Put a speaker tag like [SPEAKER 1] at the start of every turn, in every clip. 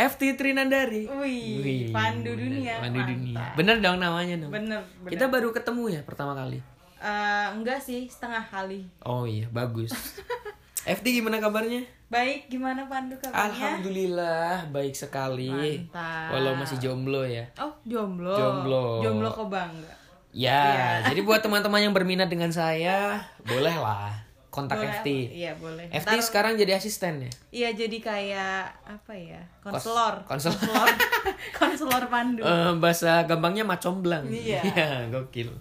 [SPEAKER 1] FT Trinandari.
[SPEAKER 2] Wih,
[SPEAKER 1] Wih,
[SPEAKER 2] pandu dunia.
[SPEAKER 1] Pandu dunia.
[SPEAKER 2] mantap.
[SPEAKER 1] Bener dong namanya dong.
[SPEAKER 2] Bener, bener.
[SPEAKER 1] Kita baru ketemu ya pertama kali.
[SPEAKER 2] Eh, enggak sih, setengah kali.
[SPEAKER 1] Oh iya, bagus. FT gimana kabarnya?
[SPEAKER 2] Baik, gimana pandu kabarnya?
[SPEAKER 1] Alhamdulillah baik sekali.
[SPEAKER 2] Iya. Mantap.
[SPEAKER 1] Walau masih jomblo ya.
[SPEAKER 2] Oh, jomblo.
[SPEAKER 1] Jomblo.
[SPEAKER 2] Jomblo kok bangga.
[SPEAKER 1] Ya,
[SPEAKER 2] Iya.
[SPEAKER 1] jadi buat teman-teman yang berminat dengan saya, bolehlah kontak
[SPEAKER 2] Boleh,
[SPEAKER 1] FT.
[SPEAKER 2] Iya, boleh.
[SPEAKER 1] FT
[SPEAKER 2] Ntar-
[SPEAKER 1] sekarang jadi asisten ya.
[SPEAKER 2] Iya, jadi kayak apa ya? Konselor.
[SPEAKER 1] konselor.
[SPEAKER 2] Konselor. Konselor pandu.
[SPEAKER 1] Eh, bahasa gampangnya macomblang.
[SPEAKER 2] Iya.
[SPEAKER 1] gokil.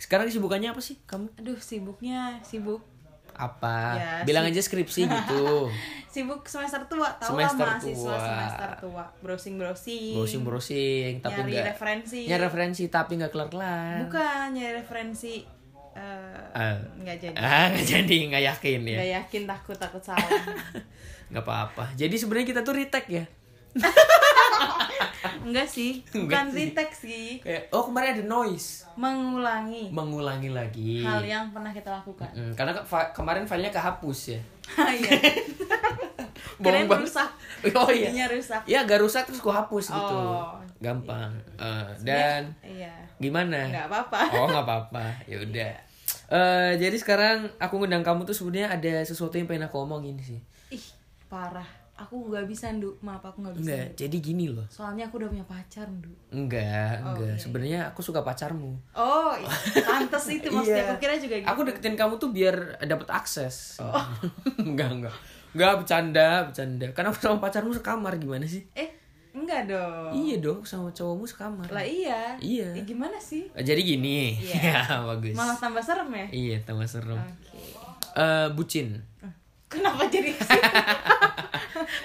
[SPEAKER 1] Sekarang kesibukannya apa sih kamu?
[SPEAKER 2] Aduh, sibuknya sibuk.
[SPEAKER 1] Apa?
[SPEAKER 2] Ya,
[SPEAKER 1] Bilang
[SPEAKER 2] sih.
[SPEAKER 1] aja skripsi gitu.
[SPEAKER 2] Sibuk semester tua, tau lah
[SPEAKER 1] Semester
[SPEAKER 2] mahasiswa
[SPEAKER 1] tua.
[SPEAKER 2] semester tua. Browsing-browsing.
[SPEAKER 1] Browsing-browsing tapi
[SPEAKER 2] Nyari
[SPEAKER 1] nggak-
[SPEAKER 2] referensi.
[SPEAKER 1] Nyari referensi tapi nggak kelar-kelar.
[SPEAKER 2] Bukan, nyari referensi. eh,
[SPEAKER 1] Ah.
[SPEAKER 2] Nggak jadi.
[SPEAKER 1] Ah, nggak jadi nggak yakin ya.
[SPEAKER 2] Gak yakin takut takut salah.
[SPEAKER 1] Nggak apa-apa. Jadi sebenarnya kita tuh retake ya.
[SPEAKER 2] Enggak sih,
[SPEAKER 1] Enggak
[SPEAKER 2] bukan
[SPEAKER 1] sih.
[SPEAKER 2] retake sih,
[SPEAKER 1] Kayak oh kemarin ada noise.
[SPEAKER 2] mengulangi
[SPEAKER 1] Mengulangi lagi.
[SPEAKER 2] hal yang pernah kita lakukan.
[SPEAKER 1] Mm, karena ke- fa- kemarin filenya kehapus ya.
[SPEAKER 2] Hah, Iya. Keren
[SPEAKER 1] Bohong-bohong.
[SPEAKER 2] rusak.
[SPEAKER 1] Oh iya.
[SPEAKER 2] Jadinya rusak.
[SPEAKER 1] Ya agak rusak terus gua hapus gitu.
[SPEAKER 2] Oh.
[SPEAKER 1] Gampang. Eh, dan
[SPEAKER 2] Iya.
[SPEAKER 1] gimana?
[SPEAKER 2] Enggak apa-apa. Iya.
[SPEAKER 1] Oh nggak apa-apa, ya udah. Eh, jadi sekarang aku ngundang kamu tuh sebenarnya ada sesuatu yang pengen aku omongin sih.
[SPEAKER 2] Ih, parah. Aku nggak bisa, Ndu. Maaf, aku nggak bisa.
[SPEAKER 1] Enggak, jadi gini loh.
[SPEAKER 2] Soalnya aku udah punya pacar, Ndu.
[SPEAKER 1] Enggak,
[SPEAKER 2] Oh,
[SPEAKER 1] enggak.
[SPEAKER 2] iya, iya.
[SPEAKER 1] Sebenarnya aku suka pacarmu.
[SPEAKER 2] Oh, iya. pantes itu maksudnya. Aku kira juga gitu.
[SPEAKER 1] Iya.
[SPEAKER 2] Oh.
[SPEAKER 1] Aku deketin kamu tuh biar dapat akses. enggak, enggak. Enggak bercanda, bercanda. Karena aku sama pacarmu sekamar gimana sih?
[SPEAKER 2] Eh, enggak dong.
[SPEAKER 1] Iya dong, aku sama cowokmu sekamar.
[SPEAKER 2] Oh. Lah iya.
[SPEAKER 1] Iya.
[SPEAKER 2] Eh, gimana sih?
[SPEAKER 1] Eh, Jadi gini.
[SPEAKER 2] Iya.
[SPEAKER 1] Ya, bagus.
[SPEAKER 2] Malah tambah serem ya?
[SPEAKER 1] Iya, tambah serem.
[SPEAKER 2] Oke.
[SPEAKER 1] Eh, bucin.
[SPEAKER 2] Kenapa jadi ke situ?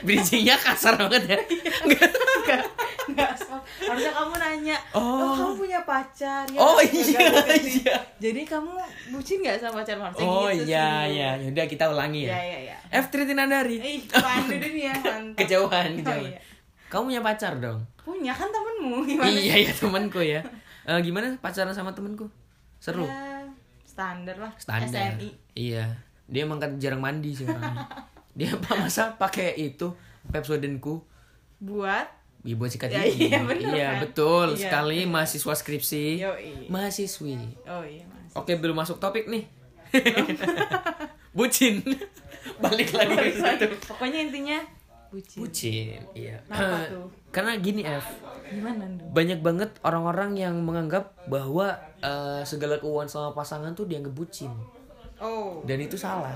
[SPEAKER 1] Bridgingnya kasar banget ya.
[SPEAKER 2] Iya.
[SPEAKER 1] Enggak.
[SPEAKER 2] Enggak, enggak, Sob. harusnya kamu nanya oh,
[SPEAKER 1] Oh.
[SPEAKER 2] kamu punya pacar ya
[SPEAKER 1] Oh,
[SPEAKER 2] Gak-
[SPEAKER 1] iya,
[SPEAKER 2] gak gitu sih.
[SPEAKER 1] iya.
[SPEAKER 2] jadi kamu bucin nggak sama pacar harusnya
[SPEAKER 1] Oh
[SPEAKER 2] gitu
[SPEAKER 1] iya
[SPEAKER 2] sih.
[SPEAKER 1] iya, yaudah kita ulangi
[SPEAKER 2] ya
[SPEAKER 1] ya.
[SPEAKER 2] ya ya
[SPEAKER 1] F3 Tinandari.
[SPEAKER 2] ih pandu dunia mantap
[SPEAKER 1] Kejauhan,
[SPEAKER 2] Oh,
[SPEAKER 1] kejauhan.
[SPEAKER 2] iya.
[SPEAKER 1] Kamu punya pacar dong?
[SPEAKER 2] punya kan temenmu gimana sih?
[SPEAKER 1] iya ya temanku ya. Eh, gimana pacaran sama temanku? Seru.
[SPEAKER 2] Ya, standar lah
[SPEAKER 1] Standar.
[SPEAKER 2] SNI
[SPEAKER 1] Iya. Dia emang kan jarang mandi sih orangnya. Dia apa masa pakai itu Pepsodenku
[SPEAKER 2] buat
[SPEAKER 1] Iya, buat sikat
[SPEAKER 2] Ya,
[SPEAKER 1] gigi.
[SPEAKER 2] iya, bener
[SPEAKER 1] Iya,
[SPEAKER 2] kan?
[SPEAKER 1] betul
[SPEAKER 2] Iya,
[SPEAKER 1] sekali mahasiswa skripsi.
[SPEAKER 2] Yoi.
[SPEAKER 1] Mahasiswi.
[SPEAKER 2] oh iya mas
[SPEAKER 1] Oke, belum masuk topik nih. Bucin. Balik lagi ke situ.
[SPEAKER 2] pokoknya intinya bucin,
[SPEAKER 1] Bucin, iya.
[SPEAKER 2] Kenapa
[SPEAKER 1] Eh,
[SPEAKER 2] tuh?
[SPEAKER 1] Karena gini, F.
[SPEAKER 2] gimana dong
[SPEAKER 1] banyak banget orang-orang yang menganggap bahwa eh, segala keuangan sama pasangan tuh dianggap bucin
[SPEAKER 2] oh
[SPEAKER 1] dan itu salah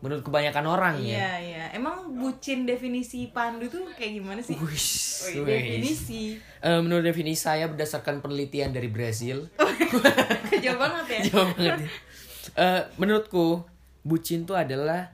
[SPEAKER 1] menurut kebanyakan orang ya
[SPEAKER 2] Iya, iya. Emang bucin definisi Pandu tuh kayak gimana sih?
[SPEAKER 1] Wish, wish.
[SPEAKER 2] Wih, definisi.
[SPEAKER 1] Eh, menurut definisi saya berdasarkan penelitian dari Brazil
[SPEAKER 2] Jauh banget ya.
[SPEAKER 1] jauh banget ya. Eh, menurutku bucin tuh adalah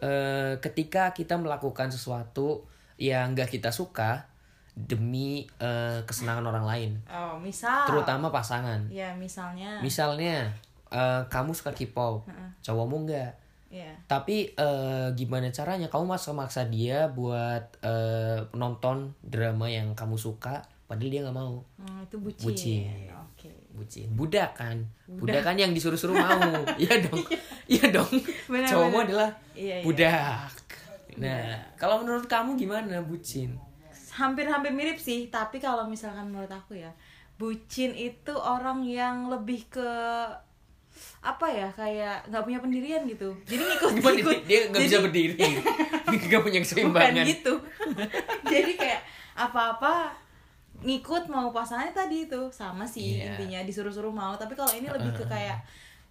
[SPEAKER 1] eh, ketika kita melakukan sesuatu yang nggak kita suka demi eh, kesenangan orang lain
[SPEAKER 2] Oh, misal.
[SPEAKER 1] terutama pasangan
[SPEAKER 2] Ya, misalnya.
[SPEAKER 1] Misalnya eh, kamu suka K-pop,
[SPEAKER 2] Heeh.
[SPEAKER 1] cowokmu enggak.
[SPEAKER 2] Iya.
[SPEAKER 1] Tapi eh, gimana caranya kamu maksa maksa dia buat eh, nonton drama yang kamu suka padahal dia nggak mau.
[SPEAKER 2] Hmm, itu bucin.
[SPEAKER 1] Bucin.
[SPEAKER 2] Oke.
[SPEAKER 1] Bucin. Budak kan. Budak kan yang disuruh-suruh mau. Iya dong. Iya dong.
[SPEAKER 2] Benar,
[SPEAKER 1] Cowokmu
[SPEAKER 2] benar.
[SPEAKER 1] adalah
[SPEAKER 2] Iya, iya.
[SPEAKER 1] budak. Nah, kalau menurut kamu gimana bucin?
[SPEAKER 2] Hampir-hampir mirip sih, tapi kalau misalkan menurut aku ya, bucin itu orang yang lebih ke apa ya kayak nggak punya pendirian gitu jadi ngikut ngikut
[SPEAKER 1] Dia nggak bisa
[SPEAKER 2] Jadi-
[SPEAKER 1] berdiri. Nggak punya
[SPEAKER 2] bukan
[SPEAKER 1] keseimbangan.
[SPEAKER 2] gitu jadi kayak apa-apa ngikut mau pasangannya tadi itu sama
[SPEAKER 1] Iya.
[SPEAKER 2] sih
[SPEAKER 1] Uh-huh.
[SPEAKER 2] intinya disuruh-suruh mau tapi kalau ini lebih ke kayak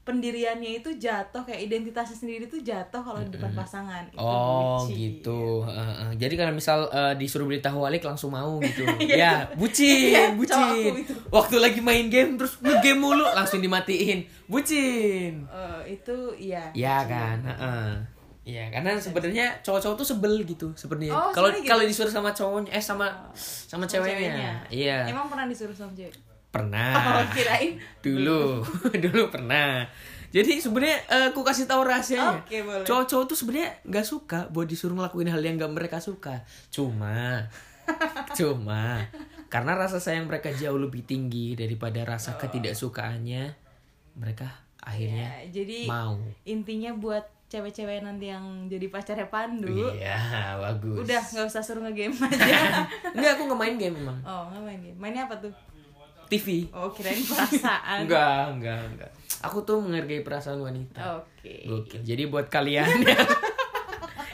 [SPEAKER 2] pendiriannya itu jatuh kayak identitasnya sendiri itu jatuh kalau di depan pasangan itu
[SPEAKER 1] Oh
[SPEAKER 2] bucin.
[SPEAKER 1] gitu. Heeh, heeh. Jadi kalau misal eh, disuruh beli tahu alik langsung mau gitu.
[SPEAKER 2] Iya,
[SPEAKER 1] ya, bucin, bucin.
[SPEAKER 2] cowokku itu.
[SPEAKER 1] Waktu lagi main game terus nge-game mulu langsung dimatiin. Bucin.
[SPEAKER 2] Eh, itu iya
[SPEAKER 1] Ya kan, heeh. Iya, karena sebenarnya cowok-cowok tuh sebel gitu sebenarnya.
[SPEAKER 2] Oh,
[SPEAKER 1] kalau
[SPEAKER 2] sebelnya gitu. Oh.
[SPEAKER 1] kalau disuruh sama cowoknya eh sama sama ceweknya. Iya. Ah.
[SPEAKER 2] emang pernah disuruh sama cewek
[SPEAKER 1] Pernah.
[SPEAKER 2] oh kirain
[SPEAKER 1] dulu dulu pernah jadi sebenarnya eh, aku kasih tahu rahasianya
[SPEAKER 2] Oke, boleh.
[SPEAKER 1] cowok-cowok tuh sebenarnya nggak suka buat disuruh ngelakuin hal yang nggak mereka suka cuma
[SPEAKER 2] Oh.
[SPEAKER 1] cuma karena rasa sayang mereka jauh lebih tinggi daripada rasa ketidaksukaannya mereka akhirnya
[SPEAKER 2] Ya, jadi
[SPEAKER 1] mau
[SPEAKER 2] intinya buat cewek-cewek nanti yang jadi pacarnya Pandu
[SPEAKER 1] iya bagus
[SPEAKER 2] udah nggak usah suruh ngegame aja
[SPEAKER 1] enggak aku nggak main game emang
[SPEAKER 2] oh nggak main game mainnya apa tuh
[SPEAKER 1] TV
[SPEAKER 2] oh kirain perasaan oke
[SPEAKER 1] enggak enggak enggak aku tuh menghargai perasaan wanita Gokil. jadi buat kalian yang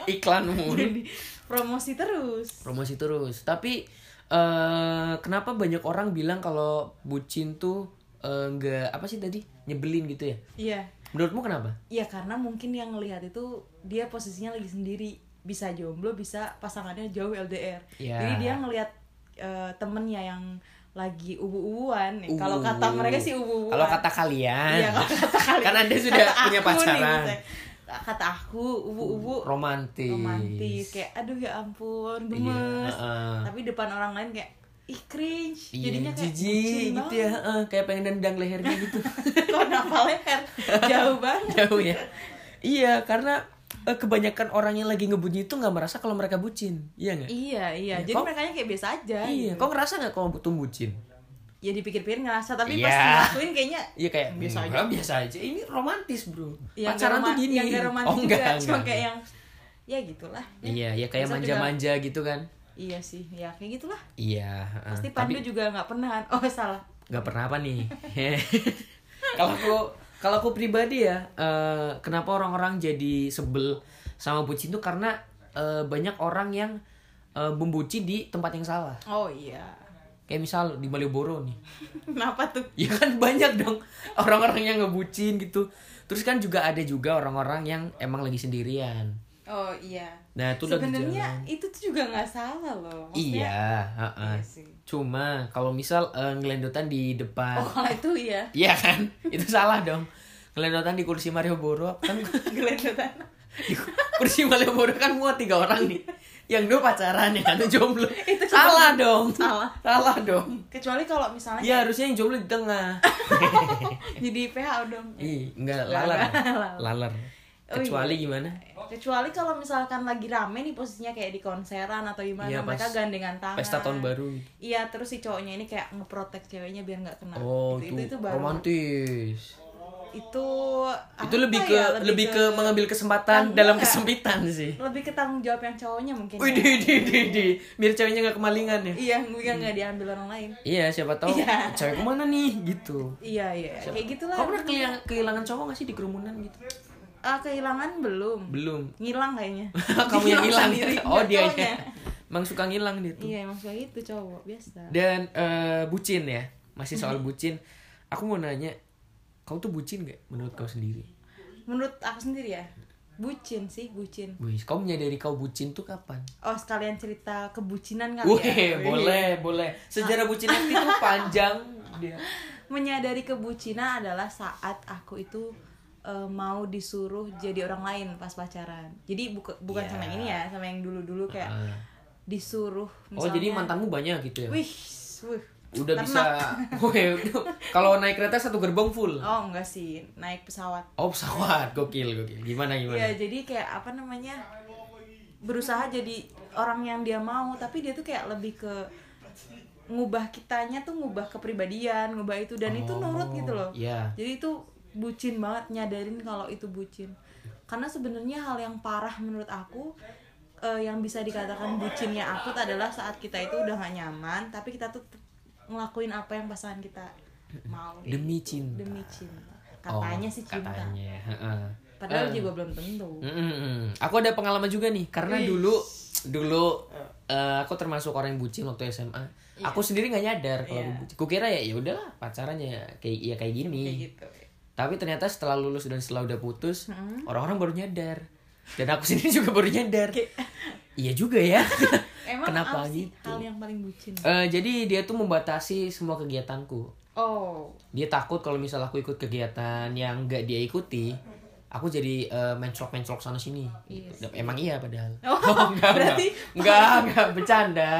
[SPEAKER 1] iklan mulu
[SPEAKER 2] Jadi, promosi terus
[SPEAKER 1] promosi terus tapi eh kenapa banyak orang bilang kalau bucin tuh eh, enggak apa sih tadi nyebelin gitu ya
[SPEAKER 2] iya
[SPEAKER 1] menurutmu kenapa
[SPEAKER 2] iya karena mungkin yang ngelihat itu dia posisinya lagi sendiri bisa jomblo bisa pasangannya jauh LDR
[SPEAKER 1] Iya.
[SPEAKER 2] jadi dia ngelihat eh, temennya yang lagi ubu-ubuan nih. kalau
[SPEAKER 1] Ubu.
[SPEAKER 2] kata mereka sih ubu-ubuan
[SPEAKER 1] Uh. Kalau kata kalian.
[SPEAKER 2] Iya, kalau kata kalian.
[SPEAKER 1] Kan Anda sudah
[SPEAKER 2] Kata
[SPEAKER 1] punya
[SPEAKER 2] aku nih,
[SPEAKER 1] pacaran. Uh,
[SPEAKER 2] misalnya. kata aku ubu-ubu
[SPEAKER 1] romantis.
[SPEAKER 2] romantis kayak aduh ya ampun gemes
[SPEAKER 1] Iya, heeh.
[SPEAKER 2] tapi depan orang lain kayak ih cringe
[SPEAKER 1] Iya,
[SPEAKER 2] jadinya kayak
[SPEAKER 1] jijik
[SPEAKER 2] bucin
[SPEAKER 1] gitu ya. heeh, kayak pengen dendang lehernya gitu.
[SPEAKER 2] banget. kok nafal leher jauh banget
[SPEAKER 1] Jauh ya. Iya, karena eh, kebanyakan orang yang lagi ngebunyi itu nggak merasa kalau mereka bucin. Iya nggak?
[SPEAKER 2] iya
[SPEAKER 1] Iya,
[SPEAKER 2] iya jadi
[SPEAKER 1] kok-
[SPEAKER 2] mereka kayak biasa aja
[SPEAKER 1] Iya.
[SPEAKER 2] gitu.
[SPEAKER 1] Kok ngerasa nggak kalau butuh bucin?
[SPEAKER 2] ya dipikir-pikir ngerasa tapi pas
[SPEAKER 1] Iya.
[SPEAKER 2] ngelakuin kayaknya
[SPEAKER 1] Iya kayak
[SPEAKER 2] Biasa
[SPEAKER 1] "Hmm,
[SPEAKER 2] aja."
[SPEAKER 1] biasa aja. Ini romantis, Bro.
[SPEAKER 2] yang nggak
[SPEAKER 1] Pacaran tuh
[SPEAKER 2] roma-
[SPEAKER 1] gini.
[SPEAKER 2] yang nggak romantis
[SPEAKER 1] oh, enggak,
[SPEAKER 2] juga cuma
[SPEAKER 1] enggak.
[SPEAKER 2] kayak yang ya gitulah
[SPEAKER 1] Iya, ya kayak
[SPEAKER 2] Bisa juga.
[SPEAKER 1] manja-manja gitu kan.
[SPEAKER 2] iya sih ya kayak gitulah
[SPEAKER 1] Iya, heeh.
[SPEAKER 2] pasti
[SPEAKER 1] Tapi-
[SPEAKER 2] Pandu juga nggak pernah kan? oh salah
[SPEAKER 1] nggak pernah apa nih kalau aku kalau aku pribadi ya eh, kenapa orang-orang jadi sebel sama bucin tuh karena eh, banyak orang yang eh, membucin di tempat yang salah
[SPEAKER 2] oh iya
[SPEAKER 1] kayak misal di Malioboro nih
[SPEAKER 2] kenapa tuh
[SPEAKER 1] ya kan banyak dong orang-orang yang ngebucin gitu terus kan juga ada juga orang-orang yang emang lagi sendirian
[SPEAKER 2] oh iya
[SPEAKER 1] nah itu udah
[SPEAKER 2] sebenarnya itu tuh juga nggak salah loh Maksudnya,
[SPEAKER 1] iya heeh.
[SPEAKER 2] Iya sih.
[SPEAKER 1] cuma kalau misal eh, ngelendotan di depan
[SPEAKER 2] oh kalau itu ya
[SPEAKER 1] Iya kan? Itu salah dong. Ngelendotan di kursi Malioboro kan
[SPEAKER 2] geledotan
[SPEAKER 1] di kursi Malioboro kan muat tiga orang nih. Yang dua pacaran yang satu jomblo.
[SPEAKER 2] Itu Oh.
[SPEAKER 1] salah dong.
[SPEAKER 2] Salah.
[SPEAKER 1] Salah dong.
[SPEAKER 2] kecuali kalau misalnya
[SPEAKER 1] Ya harusnya yang jomblo di tengah.
[SPEAKER 2] jadi PHO dong
[SPEAKER 1] Ih, enggak
[SPEAKER 2] Laler.
[SPEAKER 1] laler. Laler.
[SPEAKER 2] Oh,
[SPEAKER 1] Kecuali gimana?
[SPEAKER 2] kecuali kalau misalkan lagi rame nih posisinya kayak di konseran atau gimana
[SPEAKER 1] Iya,
[SPEAKER 2] mereka
[SPEAKER 1] pas-
[SPEAKER 2] gandengan tangan
[SPEAKER 1] Pesta tahun baru.
[SPEAKER 2] iya terus si cowoknya ini kayak ngeprotek ceweknya biar nggak kena
[SPEAKER 1] Oh, itu,
[SPEAKER 2] Gitu, itu, itu baru
[SPEAKER 1] romantis.
[SPEAKER 2] itu
[SPEAKER 1] Itu
[SPEAKER 2] apa
[SPEAKER 1] lebih ke
[SPEAKER 2] ya,
[SPEAKER 1] lebih ke mengambil kesempatan
[SPEAKER 2] Tanggung
[SPEAKER 1] dalam
[SPEAKER 2] nggak?
[SPEAKER 1] kesempitan sih.
[SPEAKER 2] lebih ke tanggung jawab yang cowoknya mungkin
[SPEAKER 1] Wih,
[SPEAKER 2] ya.
[SPEAKER 1] di, di, di, di. Biar ceweknya nggak kemalingan ya.
[SPEAKER 2] iya nggak nggak diambil orang lain
[SPEAKER 1] Iya, siapa tahu
[SPEAKER 2] Iya.
[SPEAKER 1] cewek kemana nih gitu.
[SPEAKER 2] iya iya kayak gitulah
[SPEAKER 1] Kamu pernah kehilangan, kehilangan cowok gak sih di kerumunan gitu?
[SPEAKER 2] Ah, kehilangan belum
[SPEAKER 1] Belum.
[SPEAKER 2] ngilang kayaknya
[SPEAKER 1] Kamu yang hilang.
[SPEAKER 2] sendiri.
[SPEAKER 1] Oh
[SPEAKER 2] Nggak,
[SPEAKER 1] dia
[SPEAKER 2] cowoknya.
[SPEAKER 1] ya. Emang suka ngilang dia tuh.
[SPEAKER 2] iya emang suka gitu cowok biasa
[SPEAKER 1] Dan eh, bucin ya. Masih soal
[SPEAKER 2] Mm-hmm.
[SPEAKER 1] bucin. Aku mau nanya, kau tuh bucin gak menurut kau sendiri?
[SPEAKER 2] menurut aku sendiri ya bucin sih bucin
[SPEAKER 1] Wih, kau menyadari kau bucin tuh kapan?
[SPEAKER 2] oh sekalian cerita kebucinan kali
[SPEAKER 1] Wih,
[SPEAKER 2] ya
[SPEAKER 1] boleh, boleh. Sejarah
[SPEAKER 2] Nah.
[SPEAKER 1] bucin itu tuh panjang dia.
[SPEAKER 2] menyadari kebucinan adalah saat aku itu eh, mau disuruh jadi orang lain pas pacaran jadi buka- bukan
[SPEAKER 1] Iya.
[SPEAKER 2] sama yang ini ya sama yang dulu dulu kayak
[SPEAKER 1] Ah.
[SPEAKER 2] disuruh
[SPEAKER 1] Oh,
[SPEAKER 2] misalnya,
[SPEAKER 1] jadi mantanmu banyak gitu ya?
[SPEAKER 2] wih wih
[SPEAKER 1] Udah
[SPEAKER 2] ternak.
[SPEAKER 1] bisa. Wih, kalau naik kereta satu gerbong full.
[SPEAKER 2] oh enggak sih naik pesawat
[SPEAKER 1] Oh, pesawat. Gokil, gokil. Gimana gimana?
[SPEAKER 2] Iya, jadi kayak apa namanya? Berusaha jadi orang yang dia mau, tapi dia tuh kayak lebih ke ngubah kitanya tuh ngubah kepribadian, ngubah itu dan itu
[SPEAKER 1] Oh,
[SPEAKER 2] nurut gitu loh.
[SPEAKER 1] iya.
[SPEAKER 2] Jadi itu bucin banget nyadarin kalau itu bucin. Karena sebenarnya hal yang parah menurut aku eh, yang bisa dikatakan bucinnya aku tuh adalah saat kita itu udah gak nyaman, tapi kita tuh tetep ngelakuin apa yang pasangan kita mau. gitu.
[SPEAKER 1] Demi cinta.
[SPEAKER 2] Demi cinta. Katanya
[SPEAKER 1] Oh,
[SPEAKER 2] sih cinta.
[SPEAKER 1] Katanya. heeh.
[SPEAKER 2] Padahal
[SPEAKER 1] Eh,
[SPEAKER 2] juga belum tentu.
[SPEAKER 1] mm-mm. Aku ada pengalaman juga nih karena
[SPEAKER 2] Ih.
[SPEAKER 1] dulu dulu eh, aku termasuk orang yang bucin waktu SMA. Aku sendiri nggak nyadar kalau aku
[SPEAKER 2] Iya.
[SPEAKER 1] bucin. Kukira ya ya udahlah pacarannya kayak ya kayak gini.
[SPEAKER 2] kayak gitu
[SPEAKER 1] Tapi ternyata setelah lulus dan setelah udah putus,
[SPEAKER 2] Hmm.
[SPEAKER 1] orang-orang baru nyadar. Dan aku sendiri juga baru nyadar. iya juga ya.
[SPEAKER 2] emang
[SPEAKER 1] Kenapa
[SPEAKER 2] apa sih
[SPEAKER 1] gitu?
[SPEAKER 2] hal yang paling bucin
[SPEAKER 1] Eh, jadi dia tuh membatasi semua kegiatanku.
[SPEAKER 2] oh
[SPEAKER 1] dia takut kalau misal aku ikut kegiatan yang nggak dia ikuti aku jadi eh, menclok-menclok sana sini
[SPEAKER 2] Iya sih.
[SPEAKER 1] emang iya padahal
[SPEAKER 2] Oh,
[SPEAKER 1] enggak,
[SPEAKER 2] berarti-
[SPEAKER 1] enggak enggak enggak bercanda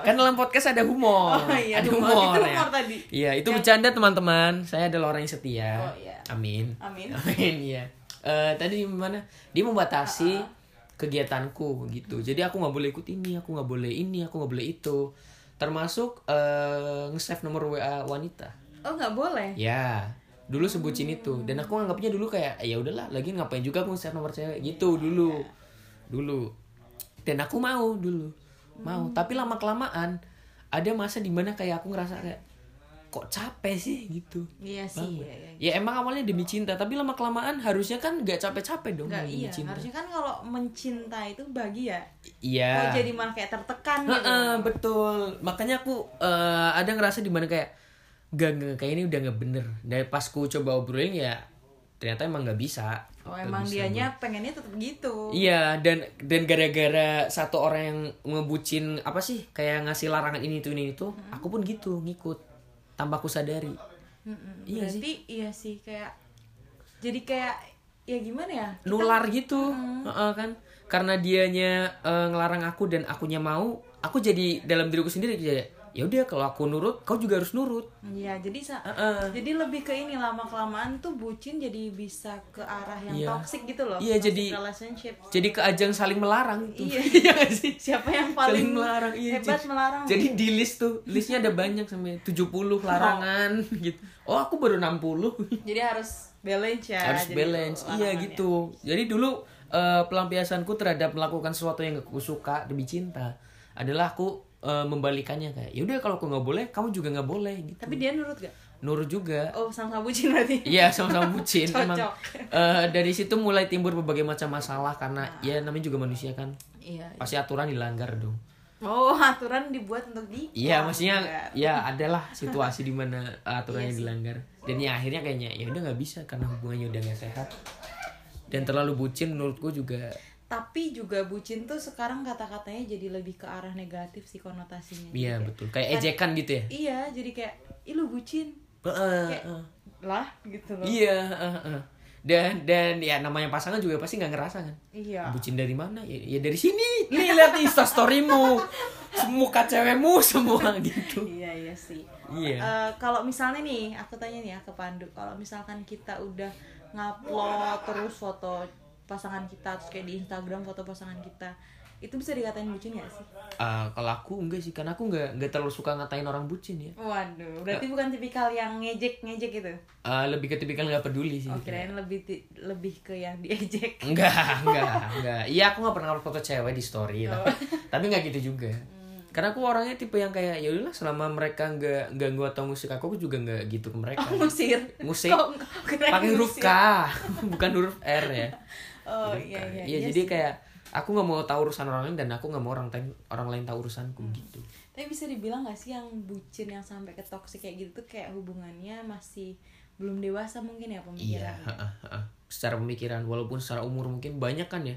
[SPEAKER 1] kan dalam podcast ada humor
[SPEAKER 2] Oh, iya,
[SPEAKER 1] ada
[SPEAKER 2] humor.
[SPEAKER 1] humor,
[SPEAKER 2] Itu
[SPEAKER 1] ya.
[SPEAKER 2] humor tadi.
[SPEAKER 1] iya itu bercanda teman-teman saya adalah orang yang setia
[SPEAKER 2] Oh, iya.
[SPEAKER 1] amin
[SPEAKER 2] Amin.
[SPEAKER 1] amin iya Eh, tadi gimana dia membatasi kegiatanku gitu jadi aku nggak boleh ikut ini aku nggak boleh ini aku nggak boleh itu termasuk eh nge-save nomor wa wanita
[SPEAKER 2] oh nggak boleh
[SPEAKER 1] Ya, dulu sebucin itu dan aku nganggapnya dulu kayak ya udahlah lagi ngapain juga aku share nomor cewek gitu dulu dulu dan aku mau dulu mau tapi lama kelamaan ada masa dimana kayak aku ngerasa kayak kok capek sih gitu
[SPEAKER 2] Iya
[SPEAKER 1] Banget.
[SPEAKER 2] sih, iya, iya.
[SPEAKER 1] ya emang awalnya demi cinta tapi lama kelamaan harusnya kan nggak capek-capek dong
[SPEAKER 2] Nggak,
[SPEAKER 1] demi
[SPEAKER 2] iya.
[SPEAKER 1] cinta
[SPEAKER 2] Harusnya kan kalau mencinta itu bahagia.
[SPEAKER 1] iya
[SPEAKER 2] Kalau jadi malah kayak tertekan gitu.
[SPEAKER 1] Heeh, betul. Makanya aku eh, ada ngerasa di mana kayak gak, gak kayak ini udah nggak bener. Dari pas ku coba obrolin ya ternyata emang nggak bisa.
[SPEAKER 2] Oh
[SPEAKER 1] Nggak
[SPEAKER 2] emang
[SPEAKER 1] bisa
[SPEAKER 2] dianya
[SPEAKER 1] gua.
[SPEAKER 2] pengennya tetap gitu.
[SPEAKER 1] Iya dan dan gara-gara satu orang yang ngebucin apa sih kayak ngasih larangan ini itu ini itu,
[SPEAKER 2] Hmm.
[SPEAKER 1] aku pun gitu ngikut tanpa ku sadari.
[SPEAKER 2] Mm-mm.
[SPEAKER 1] Iya
[SPEAKER 2] Berarti iya sih kayak jadi kayak ya gimana ya? Kita-
[SPEAKER 1] Nular gitu,
[SPEAKER 2] Hmm.
[SPEAKER 1] Heeh, kan? Karena dianya eh, ngelarang aku dan akunya mau, aku jadi dalam diriku sendiri kayak ya udah kalau aku nurut, kau juga harus nurut.
[SPEAKER 2] Iya, jadi sa-
[SPEAKER 1] Heeh.
[SPEAKER 2] jadi lebih ke ini lama kelamaan tuh bucin jadi bisa ke arah yang
[SPEAKER 1] Iya.
[SPEAKER 2] toxic gitu loh.
[SPEAKER 1] Iya,
[SPEAKER 2] toxic
[SPEAKER 1] jadi-
[SPEAKER 2] relationship.
[SPEAKER 1] jadi ke ajang saling melarang itu
[SPEAKER 2] Iya.
[SPEAKER 1] nggak sih
[SPEAKER 2] Siapa yang
[SPEAKER 1] saling
[SPEAKER 2] paling
[SPEAKER 1] melarang iya,
[SPEAKER 2] hebat
[SPEAKER 1] jadi-
[SPEAKER 2] melarang?
[SPEAKER 1] jadi di list tuh listnya ada banyak sampai 70 larangan gitu oh aku baru 60
[SPEAKER 2] Jadi harus balance ya.
[SPEAKER 1] harus
[SPEAKER 2] jadi ya.
[SPEAKER 1] balance iya
[SPEAKER 2] larangannya.
[SPEAKER 1] gitu jadi dulu eh, pelampiasanku terhadap melakukan sesuatu yang aku suka demi cinta adalah aku eh, membalikannya kayak yaudah kalau aku nggak boleh kamu juga nggak boleh gitu
[SPEAKER 2] Tapi dia nurut gak?
[SPEAKER 1] nurut juga
[SPEAKER 2] Oh, sama-sama bucin berarti.
[SPEAKER 1] Iya sama-sama bucin
[SPEAKER 2] Cocok.
[SPEAKER 1] emang Eh, dari situ mulai timbul berbagai macam masalah karena
[SPEAKER 2] Nah.
[SPEAKER 1] ya namanya juga manusia kan
[SPEAKER 2] Iya.
[SPEAKER 1] pasti aturan dilanggar dong
[SPEAKER 2] Oh, aturan dibuat untuk di.
[SPEAKER 1] Iya, maksudnya
[SPEAKER 2] Enggak.
[SPEAKER 1] ya adalah situasi di mana eh, aturannya
[SPEAKER 2] Iya sih.
[SPEAKER 1] dilanggar. Dan ya akhirnya kayaknya ya udah nggak bisa karena hubungannya udah nggak sehat. Dan terlalu bucin menurutku juga.
[SPEAKER 2] Tapi juga bucin tuh sekarang kata-katanya jadi lebih ke arah negatif sih konotasinya. Jadi
[SPEAKER 1] Iya,
[SPEAKER 2] kayak-
[SPEAKER 1] betul. Kayak ejekan gitu ya.
[SPEAKER 2] Iya, jadi kayak "Ih, lu bucin
[SPEAKER 1] Heeh,
[SPEAKER 2] Kayak-
[SPEAKER 1] heeh.
[SPEAKER 2] lah gitu loh.
[SPEAKER 1] Iya, heeh, heeh. Dan dan ya namanya pasangan juga pasti nggak ngerasa kan.
[SPEAKER 2] Iya.
[SPEAKER 1] Bucin dari mana? Ya, ya dari sini. Nih lihat Insta storymu. Muka cewekmu semua gitu.
[SPEAKER 2] Iya iya sih.
[SPEAKER 1] Iya.
[SPEAKER 2] Eh, kalau misalnya nih, aku tanya nih ya ke Pandu, kalau misalkan kita udah ngupload terus foto pasangan kita terus kayak di Instagram foto pasangan kita, itu bisa dikatain bucin gak sih?
[SPEAKER 1] Ah, kalau aku enggak sih karena aku nggak nggak terlalu suka ngatain orang bucin ya.
[SPEAKER 2] Waduh, berarti bukan tipikal yang ngejek-ngejek gitu.
[SPEAKER 1] Ah, lebih ke tipikal nggak peduli sih.
[SPEAKER 2] Oh, kirain lebih ti- lebih ke yang diejek.
[SPEAKER 1] Enggak, enggak, enggak. Iya, aku nggak pernah upload foto cewek di story,
[SPEAKER 2] Oh.
[SPEAKER 1] tapi tapi nggak gitu juga.
[SPEAKER 2] Hmm.
[SPEAKER 1] Karena aku orangnya tipe yang kayak ya udahlah selama mereka nggak ganggu atau musik aku, aku juga nggak gitu ke mereka.
[SPEAKER 2] Ngusir.
[SPEAKER 1] Ngusir.
[SPEAKER 2] Kok- kirain
[SPEAKER 1] Pakai huruf
[SPEAKER 2] ngusir?
[SPEAKER 1] K, bukan huruf R ya.
[SPEAKER 2] Oh,
[SPEAKER 1] Huruf
[SPEAKER 2] iya
[SPEAKER 1] K.
[SPEAKER 2] iya.
[SPEAKER 1] Iya, jadi kayak aku nggak mau tahu urusan orang lain dan aku nggak mau orang lain orang lain tahu urusanku gitu.
[SPEAKER 2] Tapi bisa dibilang gak sih yang bucin yang sampai ke toxic kayak gitu tuh kayak hubungannya masih belum dewasa mungkin ya
[SPEAKER 1] Iya,
[SPEAKER 2] pemikirannya.
[SPEAKER 1] heeh, heeh. secara pemikiran walaupun secara umur mungkin banyak kan ya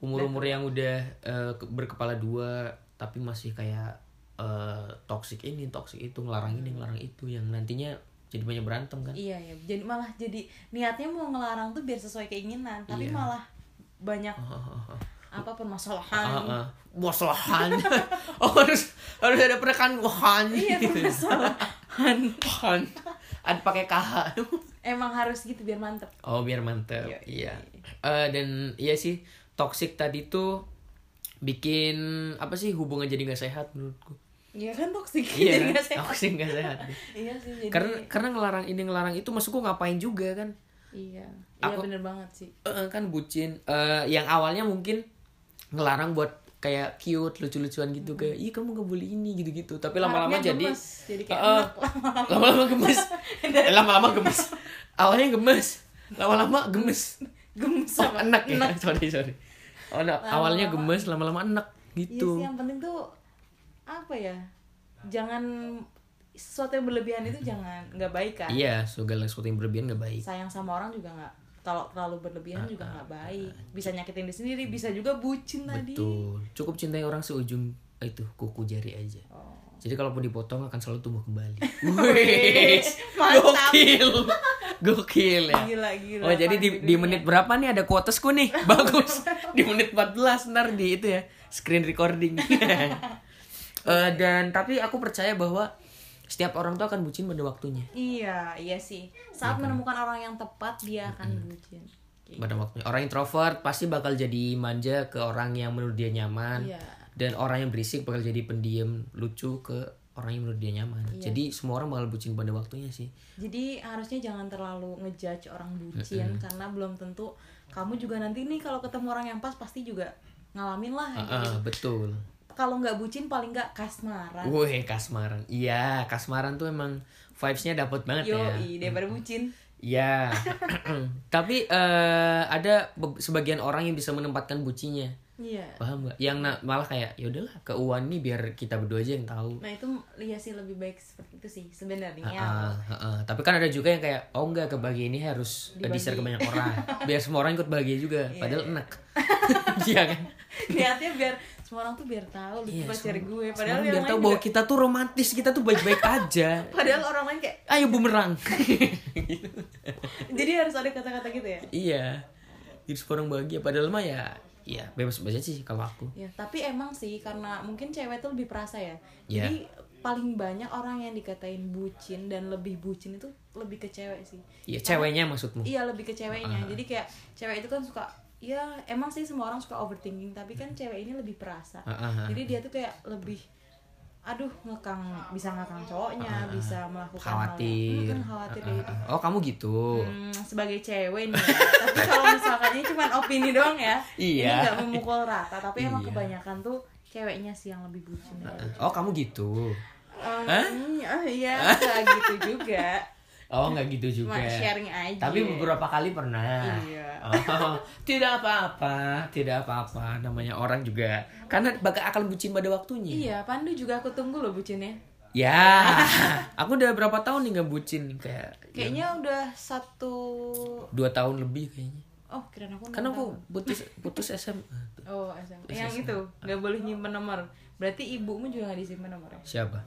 [SPEAKER 1] umur-umur yang udah eh, ke- berkepala dua tapi masih kayak eh, toxic ini toxic itu ngelarang ini ngelarang itu yang nantinya jadi banyak berantem kan
[SPEAKER 2] Iya ya, jadi malah jadi niatnya mau ngelarang tuh biar sesuai keinginan, tapi
[SPEAKER 1] Iya.
[SPEAKER 2] malah banyak
[SPEAKER 1] Heeh,
[SPEAKER 2] apa
[SPEAKER 1] heeh,
[SPEAKER 2] permasalahan.
[SPEAKER 1] heeh. Permasalahan. oh harus harus ada penekan wahan
[SPEAKER 2] Iya permasalahan.
[SPEAKER 1] Wahan. ya. ada pakai kh
[SPEAKER 2] Emang harus gitu biar mantep.
[SPEAKER 1] Oh biar mantep
[SPEAKER 2] Yoi.
[SPEAKER 1] iya. Eh, dan iya sih toxic tadi tuh bikin apa sih hubungan jadi nggak sehat menurutku.
[SPEAKER 2] Iya kan toksik jadi
[SPEAKER 1] Iya
[SPEAKER 2] nggak
[SPEAKER 1] kan?
[SPEAKER 2] sehat.
[SPEAKER 1] toxic nggak sehat.
[SPEAKER 2] Iya sih jadi.
[SPEAKER 1] karena karena ngelarang ini ngelarang itu maksudku ngapain juga kan?
[SPEAKER 2] Iya, iya
[SPEAKER 1] Aku-
[SPEAKER 2] bener banget sih.
[SPEAKER 1] Eh, kan bucin Eh, yang awalnya mungkin ngelarang buat kayak cute lucu-lucuan gitu kayak iya kamu nggak boleh ini gitu-gitu tapi lama-lama
[SPEAKER 2] Harapnya
[SPEAKER 1] jadi
[SPEAKER 2] Hmm. gemes, jadi kayak
[SPEAKER 1] Eh,
[SPEAKER 2] enak lama-lama.
[SPEAKER 1] lama-lama gemes Eh, lama-lama gemes awalnya gemes lama-lama gemes
[SPEAKER 2] gemes
[SPEAKER 1] Oh,
[SPEAKER 2] sama
[SPEAKER 1] enak ya. Sorry, sorry. Oh, enak.
[SPEAKER 2] Lama-lama.
[SPEAKER 1] Awalnya gemes, lama-lama enak
[SPEAKER 2] Iya
[SPEAKER 1] gitu.
[SPEAKER 2] sih, yang penting tuh apa ya? Jangan sesuatu yang berlebihan itu jangan nggak baik kan.
[SPEAKER 1] Iya, segala sesuatu yang berlebihan gak baik.
[SPEAKER 2] Sayang sama orang juga nggak kalau terlalu berlebihan
[SPEAKER 1] Ah,
[SPEAKER 2] juga nggak baik. Bisa nyakitin diri sendiri, bisa juga bucin tadi.
[SPEAKER 1] Betul. Cukup cintai orang seujung eh, itu kuku jari aja.
[SPEAKER 2] Oh.
[SPEAKER 1] Jadi kalaupun dipotong akan selalu tumbuh kembali.
[SPEAKER 2] Wih,
[SPEAKER 1] Wih,
[SPEAKER 2] mantap.
[SPEAKER 1] Gokil. Gokil ya.
[SPEAKER 2] Gila gila.
[SPEAKER 1] Oh, jadi di, di menit berapa nih ada kuotesku nih? Bagus. Di menit 14 ntar di itu ya, screen recording. Eh, dan tapi aku percaya bahwa setiap orang tuh akan bucin pada waktunya.
[SPEAKER 2] Iya, iya sih. Saat
[SPEAKER 1] kan?
[SPEAKER 2] menemukan orang yang tepat dia akan bucin. Kayak
[SPEAKER 1] pada waktunya orang introvert pasti bakal jadi manja ke orang yang menurut dia nyaman
[SPEAKER 2] Iya.
[SPEAKER 1] dan orang yang berisik bakal jadi pendiam lucu ke orang yang menurut dia nyaman
[SPEAKER 2] Iya.
[SPEAKER 1] jadi semua orang bakal bucin pada waktunya sih
[SPEAKER 2] Jadi harusnya jangan terlalu ngejudge orang bucin karena belum tentu kamu juga nanti nih kalau ketemu orang yang pas pasti juga ngalamin lah.
[SPEAKER 1] Ah,
[SPEAKER 2] gitu.
[SPEAKER 1] ah, betul
[SPEAKER 2] Kalau nggak bucin paling nggak kasmaran.
[SPEAKER 1] Wih, kasmaran. Iya, kasmaran tuh emang vibes-nya dapet banget
[SPEAKER 2] Yo,
[SPEAKER 1] ya.
[SPEAKER 2] daripada bucin.
[SPEAKER 1] Iya. Tapi eh, ada be- sebagian orang yang bisa menempatkan bucinya.
[SPEAKER 2] Iya.
[SPEAKER 1] Paham nggak? Yang na- malah kayak ya udahlah ke Uwan nih biar kita berdua aja yang tahu.
[SPEAKER 2] Nah itu iya sih lebih baik seperti itu sih sebenarnya.
[SPEAKER 1] Ah, ah, ah. Tapi kan ada juga yang kayak oh enggak kebahagiaan ini harus di share ke
[SPEAKER 2] Dibagi.
[SPEAKER 1] banyak orang biar semua orang ikut bahagia juga.
[SPEAKER 2] Iya,
[SPEAKER 1] Padahal
[SPEAKER 2] iya.
[SPEAKER 1] enak. Iya kan?
[SPEAKER 2] Niatnya biar semua orang tuh biar tahu lu
[SPEAKER 1] Iya,
[SPEAKER 2] pacar
[SPEAKER 1] semua-
[SPEAKER 2] gue.
[SPEAKER 1] semua
[SPEAKER 2] Padahal
[SPEAKER 1] orang
[SPEAKER 2] yang
[SPEAKER 1] biar
[SPEAKER 2] lain
[SPEAKER 1] tahu bahwa
[SPEAKER 2] juga-
[SPEAKER 1] kita tuh romantis, kita tuh baik-baik aja.
[SPEAKER 2] padahal orang lain kayak
[SPEAKER 1] Ayo bumerang.
[SPEAKER 2] jadi harus ada kata-kata gitu ya.
[SPEAKER 1] iya jadi semua orang bahagia padahal mah ya ya bebas bebas aja sih kalau aku
[SPEAKER 2] Ya, tapi emang sih karena mungkin cewek tuh lebih perasa ya.
[SPEAKER 1] Iya.
[SPEAKER 2] Jadi paling banyak orang yang dikatain bucin dan lebih bucin itu lebih ke cewek sih.
[SPEAKER 1] ya ceweknya maksudmu
[SPEAKER 2] Iya, lebih ke
[SPEAKER 1] Ah.
[SPEAKER 2] ceweknya. Jadi kayak cewek itu kan suka ya emang sih semua orang suka overthinking, tapi kan cewek ini lebih perasa.
[SPEAKER 1] Ah, ah, ah.
[SPEAKER 2] Jadi dia tuh kayak lebih aduh ngekang bisa ngekang
[SPEAKER 1] Ah,
[SPEAKER 2] cowoknya, bisa melakukan hal-
[SPEAKER 1] khawatir
[SPEAKER 2] Mm-mm, khawatir
[SPEAKER 1] Ah,
[SPEAKER 2] kayak
[SPEAKER 1] ah,
[SPEAKER 2] gitu.
[SPEAKER 1] ah. oh kamu gitu
[SPEAKER 2] Hmm, sebagai cewek nih ya. tapi kalau misalkan ini cuma opini doang ya
[SPEAKER 1] Iya.
[SPEAKER 2] ini nggak memukul rata tapi emang
[SPEAKER 1] Iya.
[SPEAKER 2] kebanyakan tuh ceweknya sih yang lebih bucin
[SPEAKER 1] Ah, oh kamu gitu
[SPEAKER 2] Um,
[SPEAKER 1] Hah?
[SPEAKER 2] oh iya nggak gitu juga
[SPEAKER 1] oh nggak gitu juga
[SPEAKER 2] cuma sharing aja
[SPEAKER 1] tapi beberapa kali pernah
[SPEAKER 2] Iya.
[SPEAKER 1] oh, tidak apa-apa tidak apa-apa namanya orang juga karena bakal akan bucin pada waktunya
[SPEAKER 2] iya Pandu juga aku tunggu loh bucinnya
[SPEAKER 1] ya aku udah berapa tahun nih nggak bucin kayak Iya.
[SPEAKER 2] kayaknya udah satu
[SPEAKER 1] dua tahun lebih kayaknya
[SPEAKER 2] oh kira aku enam
[SPEAKER 1] karena Kan aku
[SPEAKER 2] tahun.
[SPEAKER 1] putus putus SMA
[SPEAKER 2] oh SMA. yang itu nggak boleh nyimpen nomor berarti ibumu juga nggak disimpan nomornya
[SPEAKER 1] Siapa?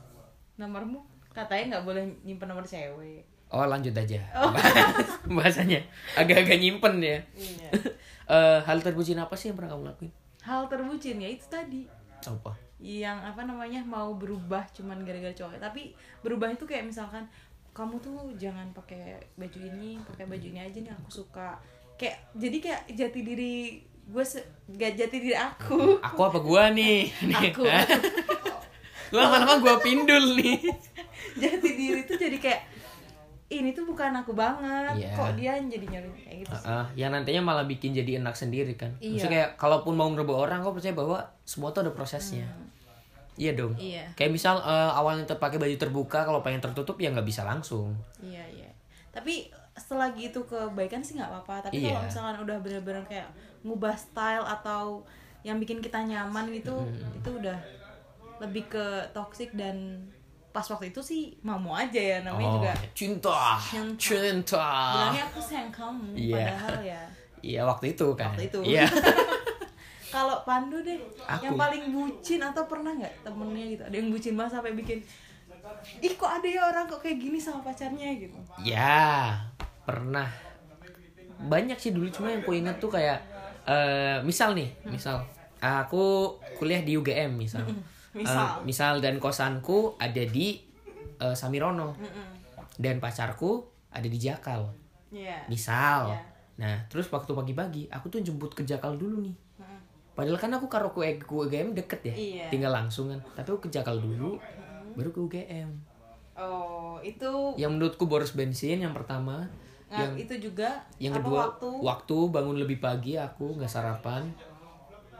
[SPEAKER 2] nomormu katanya nggak boleh nyimpen nomor cewek
[SPEAKER 1] Oh lanjut aja Bahas- Bahasanya agak-agak nyimpen ya
[SPEAKER 2] iya
[SPEAKER 1] Eh, Hal terbucin apa sih yang pernah kamu lakuin?
[SPEAKER 2] hal terbucin ya itu tadi
[SPEAKER 1] Apa?
[SPEAKER 2] yang apa namanya mau berubah cuman gara-gara cowok tapi berubah itu kayak misalkan kamu tuh jangan pakai baju ini pakai baju ini aja nih aku suka kayak jadi kayak jati diri gue se- gak jati diri aku
[SPEAKER 1] Aku apa gua nih?
[SPEAKER 2] Aku.
[SPEAKER 1] Lu lama-lama gua pindul nih
[SPEAKER 2] jati diri tuh jadi kayak ini tuh bukan aku banget
[SPEAKER 1] Iya.
[SPEAKER 2] kok dia yang jadi nyuruh kayak gitu
[SPEAKER 1] Heeh, Yang nantinya malah bikin jadi enak sendiri kan
[SPEAKER 2] Iya.
[SPEAKER 1] Maksudnya kayak Kalaupun mau ngerebut orang Kau percaya bahwa Semua tuh ada prosesnya Iya dong
[SPEAKER 2] Hmm. Iya.
[SPEAKER 1] Kayak misal eh, Awalnya terpakai baju terbuka Kalau pengen tertutup Ya nggak bisa langsung
[SPEAKER 2] iya iya tapi selagi itu kebaikan sih nggak apa-apa tapi kalau
[SPEAKER 1] Iya.
[SPEAKER 2] misalkan udah bener-bener kayak ngubah style atau yang bikin kita nyaman gitu itu udah lebih ke toxic dan pas waktu itu sih mau mau aja ya namanya
[SPEAKER 1] Oh,
[SPEAKER 2] juga
[SPEAKER 1] Cinta
[SPEAKER 2] Cinta.
[SPEAKER 1] Cinta
[SPEAKER 2] bilangnya aku sayang kamu
[SPEAKER 1] Iya.
[SPEAKER 2] padahal ya
[SPEAKER 1] Iya waktu itu kan
[SPEAKER 2] Waktu itu.
[SPEAKER 1] Iya
[SPEAKER 2] kalau Pandu deh
[SPEAKER 1] Aku.
[SPEAKER 2] yang paling bucin atau pernah nggak temennya gitu ada yang bucin banget sampai bikin ih kok ada ya orang kok kayak gini sama pacarnya gitu
[SPEAKER 1] Ya, pernah. Banyak sih dulu cuma yang ku ingat tuh kayak eh misal nih,
[SPEAKER 2] Hmm.
[SPEAKER 1] misal aku kuliah di UGM misal.
[SPEAKER 2] Misal.
[SPEAKER 1] Eh, misal dan kosanku ada di eh, Samirono dan pacarku ada di Jakal.
[SPEAKER 2] Iya.
[SPEAKER 1] Misal.
[SPEAKER 2] Iya.
[SPEAKER 1] Nah, terus waktu pagi-pagi aku tuh jemput ke Jakal dulu nih. Padahal kan aku karo ke ke UGM deket ya,
[SPEAKER 2] Hmm. Iya. Hmm.
[SPEAKER 1] tinggal langsungan. Tapi aku ke Jakal dulu, baru ke UGM.
[SPEAKER 2] oh itu
[SPEAKER 1] Yang menurutku boros bensin yang pertama,
[SPEAKER 2] Nah,
[SPEAKER 1] yang
[SPEAKER 2] itu juga
[SPEAKER 1] yang
[SPEAKER 2] apa,
[SPEAKER 1] kedua
[SPEAKER 2] waktu,
[SPEAKER 1] bangun lebih pagi aku nggak sarapan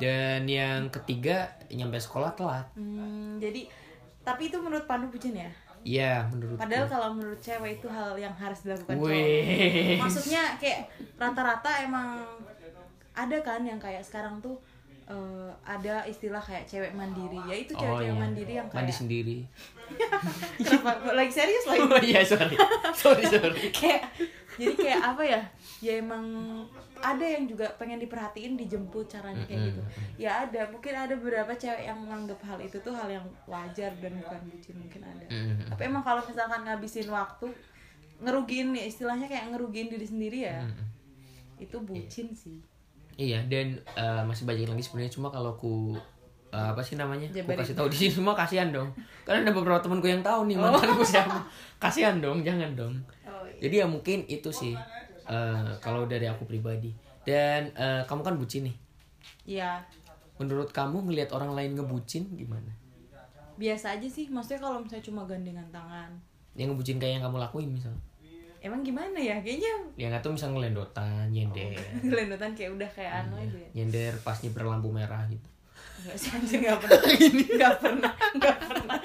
[SPEAKER 1] dan yang ketiga nyampe sekolah telat
[SPEAKER 2] Hmm, jadi tapi itu menurut Pandu bucin ya
[SPEAKER 1] iya menurut
[SPEAKER 2] padahal kalau menurut cewek itu hal yang harus dilakukan cowok
[SPEAKER 1] Wih.
[SPEAKER 2] maksudnya kayak rata-rata emang ada kan yang kayak sekarang tuh eh, ada istilah kayak cewek mandiri ya itu
[SPEAKER 1] Oh,
[SPEAKER 2] cewek-cewek
[SPEAKER 1] iya.
[SPEAKER 2] mandiri yang kayak
[SPEAKER 1] mandi sendiri
[SPEAKER 2] kenapa lagi serius lagi
[SPEAKER 1] oh iya sorry sorry sorry
[SPEAKER 2] kayak jadi kayak apa ya ya emang ada yang juga pengen diperhatiin dijemput caranya kayak gitu ya ada mungkin ada beberapa cewek yang menganggap hal itu tuh hal yang wajar dan bukan bucin mungkin ada
[SPEAKER 1] Mm.
[SPEAKER 2] tapi emang kalau misalkan ngabisin waktu ngerugiin ya istilahnya kayak ngerugiin diri sendiri ya itu bucin sih
[SPEAKER 1] iya dan eh, masih banyak lagi sebenarnya cuma kalau ku eh, apa sih namanya aku
[SPEAKER 2] Jabarin.
[SPEAKER 1] kasih tahu di sini semua kasihan dong karena ada beberapa temanku yang tahu
[SPEAKER 2] Oh.
[SPEAKER 1] nih mantanku siapa kasihan dong jangan dong Jadi ya mungkin itu sih eh, kalau dari aku pribadi. Dan eh, kamu kan bucin nih.
[SPEAKER 2] ya
[SPEAKER 1] Menurut kamu ngelihat orang lain ngebucin gimana?
[SPEAKER 2] biasa aja sih maksudnya kalau misalnya cuma gandengan tangan
[SPEAKER 1] yang ngebucin kayak yang kamu lakuin misalnya
[SPEAKER 2] emang gimana ya kayaknya
[SPEAKER 1] ya nggak tuh misalnya ngelendotan nyender
[SPEAKER 2] gelendotan kayak udah kayak anu aja
[SPEAKER 1] nyender pas nyebar lampu merah gitu
[SPEAKER 2] Enggak sih anjir enggak pernah. Enggak pernah, enggak pernah.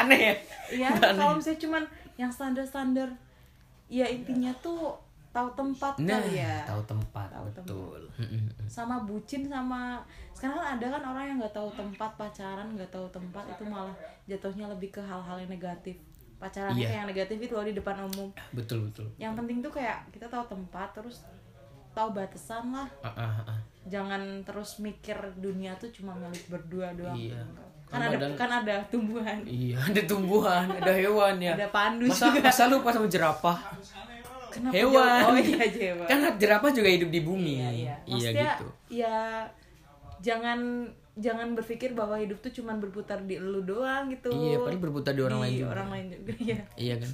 [SPEAKER 1] aneh ya
[SPEAKER 2] Iya, kalau misalnya cuman yang standar-standar ya intinya tuh tahu tempat
[SPEAKER 1] nah
[SPEAKER 2] kali ya.
[SPEAKER 1] tahu tempat
[SPEAKER 2] Tahu tempat.
[SPEAKER 1] betul
[SPEAKER 2] Sama bucin sama sekarang kan ada kan orang yang nggak tahu tempat pacaran, nggak tahu tempat itu malah jatuhnya lebih ke hal-hal yang negatif. Pacaran
[SPEAKER 1] Iya.
[SPEAKER 2] kayak yang negatif itu loh di depan umum.
[SPEAKER 1] betul betul
[SPEAKER 2] Yang penting tuh kayak kita tahu tempat terus tahu batasan lah.
[SPEAKER 1] Ah, ah, ah.
[SPEAKER 2] Jangan terus mikir dunia tuh cuma milik berdua doang.
[SPEAKER 1] Iya.
[SPEAKER 2] Kan ada
[SPEAKER 1] Kadang-
[SPEAKER 2] kan ada tumbuhan.
[SPEAKER 1] iya ada tumbuhan ada hewan ya
[SPEAKER 2] Ada pandu
[SPEAKER 1] masa
[SPEAKER 2] juga.
[SPEAKER 1] masa lupa sama jerapah
[SPEAKER 2] Kenapa
[SPEAKER 1] Hewan.
[SPEAKER 2] jauh? Oh iya hewan.
[SPEAKER 1] kan jerapah juga hidup di bumi
[SPEAKER 2] iya, iya. Maksudnya,
[SPEAKER 1] gitu
[SPEAKER 2] ya jangan jangan berpikir bahwa hidup tuh cuman berputar di lu doang gitu.
[SPEAKER 1] Iya, paling berputar di orang lain juga.
[SPEAKER 2] orang lain juga. Iya.
[SPEAKER 1] Iya kan.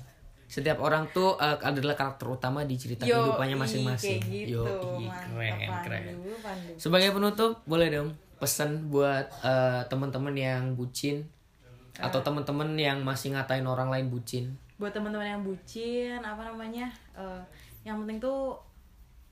[SPEAKER 1] Setiap orang tuh uh, adalah karakter utama di cerita
[SPEAKER 2] Yo,
[SPEAKER 1] kehidupannya
[SPEAKER 2] ih,
[SPEAKER 1] masing-masing.
[SPEAKER 2] Kayak gitu.
[SPEAKER 1] ih,
[SPEAKER 2] Mantap,
[SPEAKER 1] keren,
[SPEAKER 2] Pandu,
[SPEAKER 1] keren.
[SPEAKER 2] Pandu.
[SPEAKER 1] Sebagai penutup, boleh dong pesan buat uh, teman-teman yang bucin
[SPEAKER 2] Eh.
[SPEAKER 1] atau teman-teman yang masih ngatain orang lain bucin.
[SPEAKER 2] Buat teman-teman yang bucin, apa namanya? eh, yang penting tuh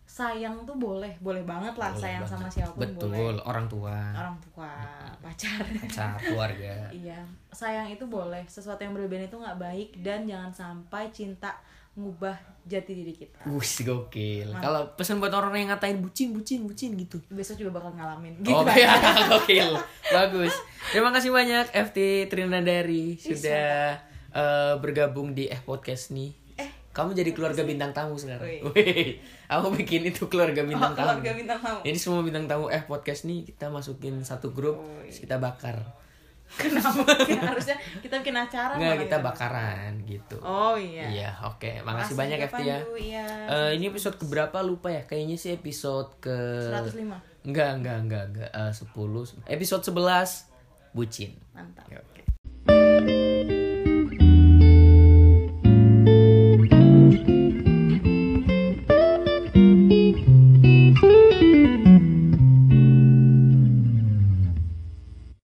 [SPEAKER 2] sayang tuh boleh, boleh banget lah sayang sama siapapun boleh.
[SPEAKER 1] Betul, orang tua,
[SPEAKER 2] Orang tua, pacar.
[SPEAKER 1] pacar, keluarga.
[SPEAKER 2] Iya, sayang itu boleh. Sesuatu yang berlebihan itu nggak baik dan jangan sampai cinta ngubah jati diri kita.
[SPEAKER 1] Wih, gokil. Kalau pesan buat orang yang ngatain bucin, bucin, bucin gitu.
[SPEAKER 2] Besok juga bakal ngalamin. Gitu.
[SPEAKER 1] Oh iya, gokil. Bagus. Terima kasih banyak FT
[SPEAKER 2] Iya,
[SPEAKER 1] Trinadari sudah eh, bergabung di eh podcast nih.
[SPEAKER 2] Eh,
[SPEAKER 1] Kamu jadi keluarga bintang tamu sekarang.
[SPEAKER 2] Wih.
[SPEAKER 1] Wih, aku bikin itu keluarga bintang
[SPEAKER 2] Oh,
[SPEAKER 1] tamu.
[SPEAKER 2] keluarga bintang tamu.
[SPEAKER 1] Jadi semua bintang tamu eh podcast nih kita masukin satu grup,
[SPEAKER 2] Oh, iya.
[SPEAKER 1] terus kita bakar.
[SPEAKER 2] kenapa? Ya, harusnya kita bikin acara. malah
[SPEAKER 1] Enggak, kita
[SPEAKER 2] ya.
[SPEAKER 1] bakaran gitu.
[SPEAKER 2] Oh iya.
[SPEAKER 1] Iya, oke. Makasih banyak
[SPEAKER 2] Kak
[SPEAKER 1] FT ya.
[SPEAKER 2] Pandu, Iya.
[SPEAKER 1] Eh, ini episode keberapa lupa ya? Kayaknya sih episode ke
[SPEAKER 2] 105.
[SPEAKER 1] Enggak, enggak, enggak, enggak. Eh, 10 episode 11 bucin.
[SPEAKER 2] Mantap.
[SPEAKER 1] Okay.